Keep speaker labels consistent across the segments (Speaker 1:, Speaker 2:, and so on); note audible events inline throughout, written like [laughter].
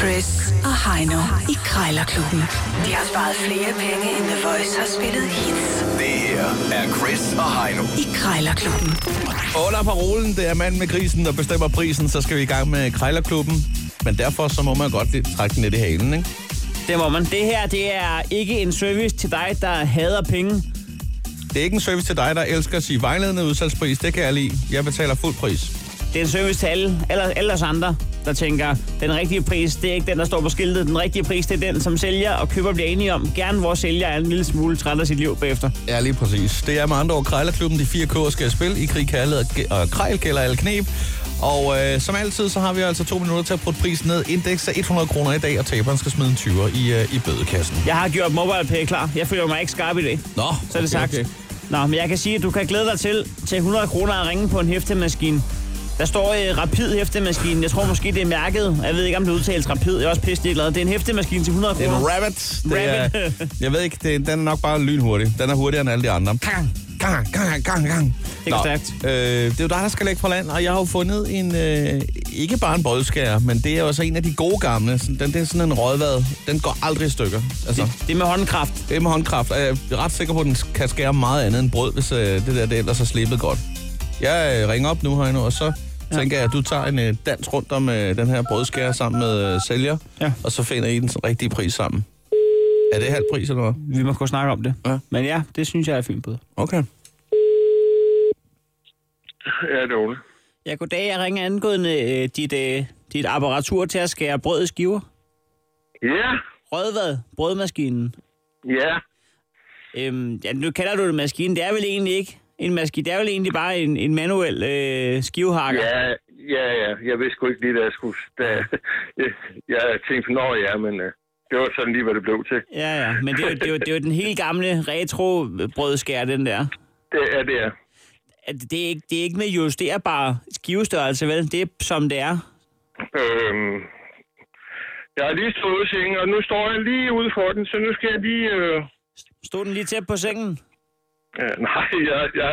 Speaker 1: Chris og Heino i Krejlerklubben. De har sparet flere penge, end The Voice har spillet hits
Speaker 2: Det her er Chris og Heino.
Speaker 1: i Krejlerklubben.
Speaker 3: Under parolen, det er manden med grisen, der bestemmer prisen, så skal vi i gang med Krejlerklubben. Men derfor så må man godt lidt trække den lidt i halen, ikke?
Speaker 4: Det må man. Det her, det er ikke en service til dig, der hader penge.
Speaker 3: Det er ikke en service til dig, der elsker at sige vejledende udsalgspris. Det kan jeg lide. Jeg betaler fuld pris.
Speaker 4: Det er en service til alle, alle, alle os andre, der tænker, den rigtige pris, det er ikke den, der står på skiltet. Den rigtige pris, det er den, som sælger og køber bliver enige om. Gerne hvor sælger er en lille smule træt af sit liv bagefter.
Speaker 3: Ja, lige præcis. Det er med andre ord Krejlerklubben, de fire kår skal spille. I krig, kærlighed og ge- og krejl gælder alle knep. Og øh, som altid, så har vi altså to minutter til at putte prisen ned. Indeks er 100 kroner i dag, og taberen skal smide en 20'er i, øh, i bødekassen.
Speaker 4: Jeg har gjort MobilePay klar. Jeg føler mig ikke skarp i dag.
Speaker 3: Nå,
Speaker 4: Så er det sagt. Nå, men jeg kan sige, at du kan glæde dig til til 100 kroner at ringe på en hæftemaskine. Der står øh, Rapid hæftemaskine. Jeg tror måske, det er mærket. Jeg ved ikke, om det udtales Rapid. Jeg er også pisse glad. Det er en hæftemaskine til 100
Speaker 3: Det er
Speaker 4: kroner.
Speaker 3: en rabbit. Det er,
Speaker 4: Rabbit.
Speaker 3: [laughs] jeg ved ikke, det, er- den er nok bare lynhurtig. Den er hurtigere end alle de andre. Gang, gang, gang, gang, gang.
Speaker 4: Det går stærkt.
Speaker 3: Øh, det er jo dig, der skal lægge på land, og jeg har jo fundet en, øh, ikke bare en boldskærer, men det er også en af de gode gamle. Sådan- Den, det er sådan en rådvad. Den går aldrig i stykker. Altså,
Speaker 4: Det, det er med håndkraft.
Speaker 3: det er med håndkraft, og jeg er ret sikker på, at den kan skære meget andet end brød, hvis øh, det der det ellers er slippet godt. Jeg øh, ringer op nu, Heino, og så tænker jeg, at du tager en øh, dans rundt om øh, den her brødskærer sammen med øh, sælger,
Speaker 4: Ja.
Speaker 3: og så finder I den rigtige pris sammen. Er det halv pris eller hvad?
Speaker 4: Vi må kunne snakke om det.
Speaker 3: Ja.
Speaker 4: Men ja, det synes jeg er fint bud.
Speaker 3: Okay.
Speaker 5: Ja, det er Ole.
Speaker 4: Ja, goddag. Jeg ringer angående øh, dit, øh, dit apparatur til at skære brød i skiver.
Speaker 5: Ja,
Speaker 4: Rødvad, brødmaskinen.
Speaker 5: ja.
Speaker 4: Øhm, ja, nu kalder du det maskine. Det er vel egentlig ikke en maskine. Det er vel egentlig bare en, en manuel øh, skivehakker.
Speaker 5: Ja, ja, ja. Jeg vidste sgu ikke lige, da jeg skulle... Da, [laughs] jeg, jeg tænkte, nå ja, men øh, det var sådan lige, hvad det blev til.
Speaker 4: ja, ja. Men det er, jo, det, er jo, det er jo den helt gamle retro brødskær, den der.
Speaker 5: Det er det, er.
Speaker 4: At Det er, ikke, det er ikke med justerbar skivestørrelse, vel? Det er som det er.
Speaker 5: Øhm, jeg har lige stået i sengen, og nu står jeg lige ude for den, så nu skal jeg lige... Øh, [laughs]
Speaker 4: Stod den lige tæt på sengen?
Speaker 5: ja, nej, jeg, jeg,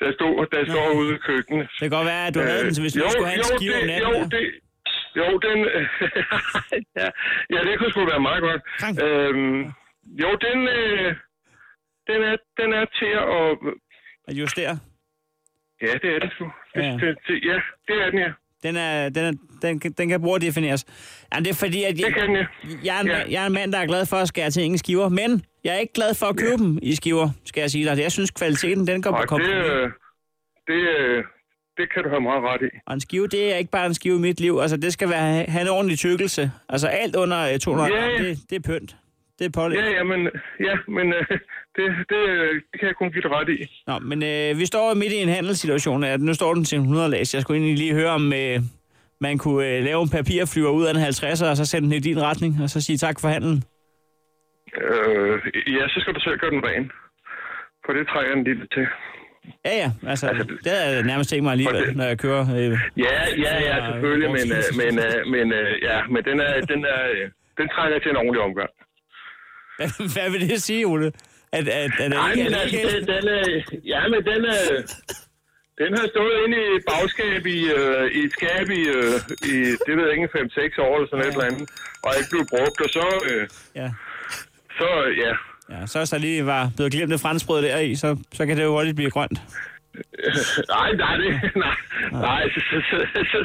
Speaker 5: der, stod, der står ude i køkkenet.
Speaker 4: Det kan godt være, at du havde den, så hvis du
Speaker 5: Øh, jo,
Speaker 4: skulle have en
Speaker 5: jo,
Speaker 4: skive om
Speaker 5: det,
Speaker 4: natten.
Speaker 5: jo,
Speaker 4: der.
Speaker 5: det, jo, den... [laughs] ja, ja, det kunne sgu være meget godt.
Speaker 4: Krank.
Speaker 5: Øhm, jo, den, øh, den, er, den er til at...
Speaker 4: At justere.
Speaker 5: Ja, det er den sgu. Det,
Speaker 4: Ja.
Speaker 5: ja. Det, det, ja, det er den, ja.
Speaker 4: Den, er, den, er, den, kan- den kan brugerdefineres. Jamen, det er fordi, at
Speaker 5: Det
Speaker 4: jeg,
Speaker 5: kan den, ja.
Speaker 4: jeg, er en,
Speaker 5: ja.
Speaker 4: jeg er en mand, der er glad for at skære ting i skiver, men jeg er ikke glad for at købe dem i skiver, skal jeg sige dig. Jeg synes, kvaliteten, den går på
Speaker 5: Og det,
Speaker 4: kompromis.
Speaker 5: øh, det, øh, det kan du have meget ret i.
Speaker 4: Og en skive, det er ikke bare en skive i mit liv. Altså, det skal være, have en ordentlig tykkelse. Altså, alt under øh, 200
Speaker 5: Ja,
Speaker 4: gram,
Speaker 5: ja.
Speaker 4: det, det er pynt. Det er pålæg.
Speaker 5: Ja, ja, men, ja, men øh, det, det, øh, det kan jeg kun give dig ret i.
Speaker 4: Nå, men øh, vi står midt i en handelssituation. At nu står den til en 100 læs. Jeg skulle egentlig lige høre, om øh, man kunne øh, lave en papirflyver ud af en 50'er, og så sende den i din retning, og så sige tak for handelen.
Speaker 5: Øh, ja, så skal du selv gøre den ren. For det trænger den lidt til.
Speaker 4: Ja, ja. Altså, det havde jeg nærmest tænkt mig alligevel, når jeg kører. Øh.
Speaker 5: Ja, ja, ja, selvfølgelig, men, øh, men, øh, men, øh, ja, men den, er, den, er, øh, den trænger til en ordentlig omgang.
Speaker 4: Hvad, hvad vil det sige, Ole? At, at, at, at
Speaker 5: Nej,
Speaker 4: ikke,
Speaker 5: men
Speaker 4: at,
Speaker 5: altså,
Speaker 4: ikke,
Speaker 5: den, den er, ja, men den er, den har stået inde i et bagskab i, øh, i et skab i, øh, i, det ved jeg ikke, 5-6 år eller sådan et eller andet, og ikke blev brugt, og så, øh,
Speaker 4: ja.
Speaker 5: så øh, ja,
Speaker 4: ja, så hvis der lige var blevet glemt et franskbrød der i, så, så kan det jo hurtigt blive grønt.
Speaker 5: nej, nej, det, nej, nej, så, så, så, så,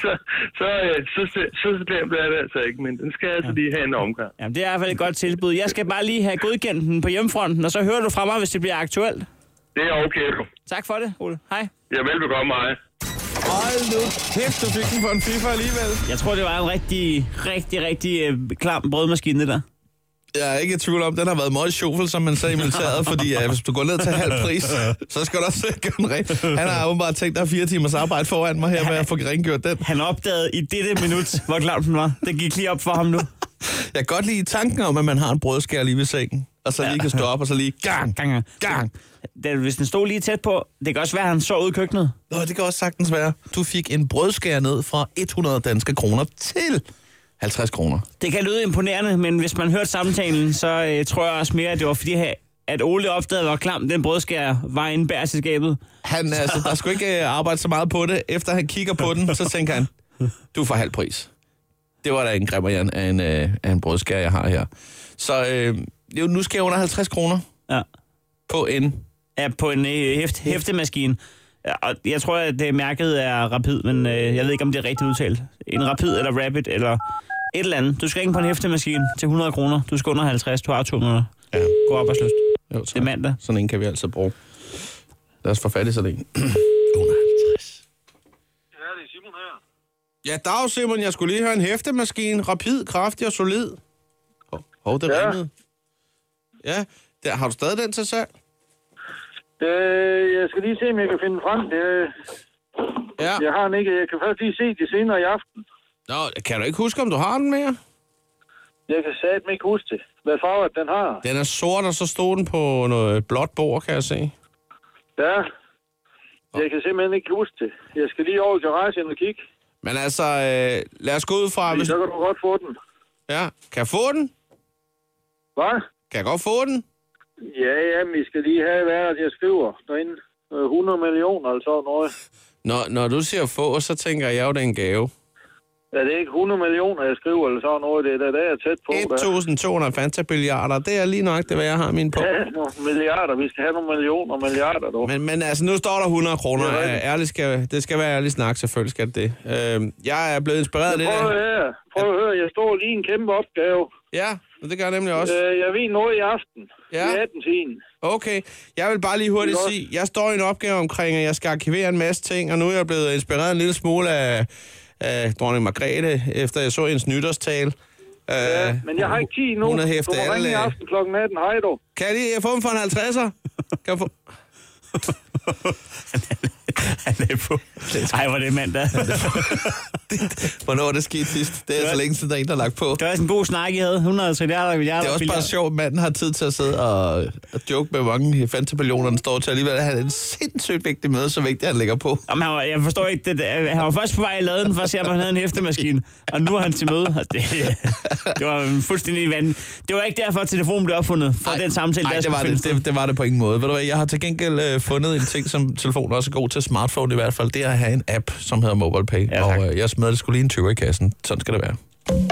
Speaker 5: så, så, øh, så, så, så, så slemt er det altså ikke, men den skal altså lige have en omgang.
Speaker 4: Jamen, det er i hvert fald et godt tilbud. Jeg skal bare lige have godkendt den på hjemmefronten, og så hører du fra mig, hvis det bliver aktuelt.
Speaker 5: Det er okay, du.
Speaker 4: Tak for det, Ole. Hej.
Speaker 5: Jeg velbekomme mig.
Speaker 3: Hold nu kæft, du fik den for en FIFA alligevel.
Speaker 4: Jeg tror, det var en rigtig, rigtig, rigtig øh, klam brødmaskine, det der.
Speaker 3: Jeg er ikke i tvivl om, den har været meget sjovfuld, som man sagde i militæret, fordi ja, hvis du går ned til halv pris, så skal du også [laughs] gøre den rent. Han har åbenbart tænkt, der er fire timers arbejde foran mig her, med at få rengjort den.
Speaker 4: Han opdagede i dette minut, hvor klam den var. Det gik lige op for ham nu.
Speaker 3: Jeg kan godt lide tanken om, at man har en brødskær lige ved sengen, og så lige kan stå op, og så lige gang, gang,
Speaker 4: Gang,
Speaker 3: gang.
Speaker 4: Den, hvis den stod lige tæt på, det kan også være, at han så ud i køkkenet.
Speaker 3: Nå, det kan også sagtens være. Du fik en brødskær ned fra 100 danske kroner til 50 kroner.
Speaker 4: Det kan lyde imponerende, men hvis man hørte samtalen, så øh, tror jeg også mere, at det var fordi, at Ole opdagede, hvor klam den brødskær var inde bag til skabet.
Speaker 3: Han, altså, der skulle ikke øh, arbejde så meget på det. Efter han kigger på den, så tænker han, du får halv pris. det var da en grimmer Jan, af en, øh, af en brødskær, jeg har her. Så øh, jo, nu skal jeg under 50 kroner
Speaker 4: Ja.
Speaker 3: på en...
Speaker 4: er på en øh, hæft, hæftemaskine. Ja, Og jeg tror, at det mærket er rapid, men øh, jeg ved ikke, om det er rigtigt udtalt. En rapid eller rapid eller et eller andet. Du skal ringe på en hæftemaskine til 100 kroner. Du skal under 50. Du har to minutter.
Speaker 3: Ja.
Speaker 4: God arbejdsløst.
Speaker 3: Jo, tak.
Speaker 4: Det er
Speaker 3: [laughs]
Speaker 4: mandag.
Speaker 3: Sådan en kan vi altså bruge. Lad os få fat i sådan en. [clears throat]
Speaker 6: Ja, det er Simon her.
Speaker 3: Ja, dag Simon, jeg skulle lige have en hæftemaskine. Rapid, kraftig og solid. Hov, hov det ja.
Speaker 6: Ja.
Speaker 3: ringede. Ja, der, har du stadig den til salg?
Speaker 6: Øh, jeg skal lige se, om jeg kan finde den frem. Det,
Speaker 3: Ja.
Speaker 6: jeg har den ikke. Jeg kan først lige se det senere i aften.
Speaker 3: Nå, kan du ikke huske, om du har den mere?
Speaker 6: Jeg kan satme ikke huske det. Hvad farve den har.
Speaker 3: Den er sort, og så stod den på noget blåt bord, kan jeg se.
Speaker 6: Ja. Jeg kan simpelthen ikke huske det. Jeg skal lige over i garagen og kigge.
Speaker 3: Men altså, øh, lad os gå ud fra...
Speaker 6: Fordi
Speaker 3: Hvis,
Speaker 6: så kan du godt få den.
Speaker 3: ja, kan jeg få den?
Speaker 6: Hvad?
Speaker 3: Kan jeg godt få den?
Speaker 6: Ja, ja, men vi skal lige have, hvad er det, jeg skriver derinde. Øh, 100 millioner eller sådan noget.
Speaker 3: Når, når du siger få, så tænker jeg jo, det er en gave.
Speaker 6: Er det ikke 100 millioner, jeg skriver eller sådan noget? Det er da det, jeg er tæt på. da.
Speaker 3: 1.200 Fanta-billiarder, det er lige nok det, hvad jeg har min på.
Speaker 6: [laughs] Ja, nogle milliarder. Vi skal have nogle millioner og milliarder, du.
Speaker 3: Men, men altså, nu står der 100 kroner.
Speaker 6: Det er rigtigt.
Speaker 3: Øh, Ærligt skal, det skal være ærlig snak, selvfølgelig skal det det. Øh, jeg er blevet inspireret af det
Speaker 6: Prøv at
Speaker 3: der.
Speaker 6: høre. Prøv at høre. Jeg står lige i en kæmpe opgave.
Speaker 3: Ja, og det gør jeg nemlig også.
Speaker 6: Øh, jeg ved noget i aften.
Speaker 3: Ja.
Speaker 6: I 18 tiden.
Speaker 3: Okay, jeg vil bare lige hurtigt
Speaker 6: Det er
Speaker 3: sige, jeg står i en opgave omkring, at jeg skal arkivere en masse ting, og nu er jeg blevet inspireret en lille smule af, af dronning Margrethe, efter jeg så hendes nytårstale. Ja, øh,
Speaker 6: Men jeg har ikke tid nu.
Speaker 3: Hun har hæftet
Speaker 6: du må ringe
Speaker 3: alle...
Speaker 6: i aften kl. 18. Hej, du.
Speaker 3: Kan jeg lige få dem for en 50'er? Kan jeg få...
Speaker 4: Ej, hvor er det mandag.
Speaker 3: Hvornår er det sket sidst? Det er så længe siden, der er en, der har lagt på.
Speaker 4: Det var også en god snak, I havde. 100 milliarder milliarder.
Speaker 3: Det er også bare
Speaker 4: milliarder.
Speaker 3: sjovt, at manden har tid til at sidde og, og joke med, hvor mange fantabillioner den står til. Alligevel er han en sindssygt vigtig møde, så vigtigt, at han lægger på.
Speaker 4: Jamen, han var, jeg forstår ikke det. der. Han var først på vej i laden for at se, om han havde en hæftemaskine. Og nu er han til møde. Og Det, det var en fuldstændig vand. Det var ikke derfor, at telefonen blev opfundet. For den samtale,
Speaker 3: nej,
Speaker 4: der
Speaker 3: det,
Speaker 4: skulle
Speaker 3: var
Speaker 4: findes
Speaker 3: det, det, det var det på ingen måde. Ved du hvad, jeg har til gengæld øh, fundet en ting, som telefonen også er god til, smartphone i hvert fald, det er at have en app, som hedder MobilePay.
Speaker 4: Ja, tak.
Speaker 3: og øh, jeg smed det skulle lige en 20 i kassen. Sådan skal det være.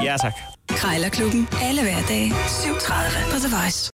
Speaker 4: Ja, tak.
Speaker 1: Krejlerklubben. Alle hverdage. 7.30 på The Voice.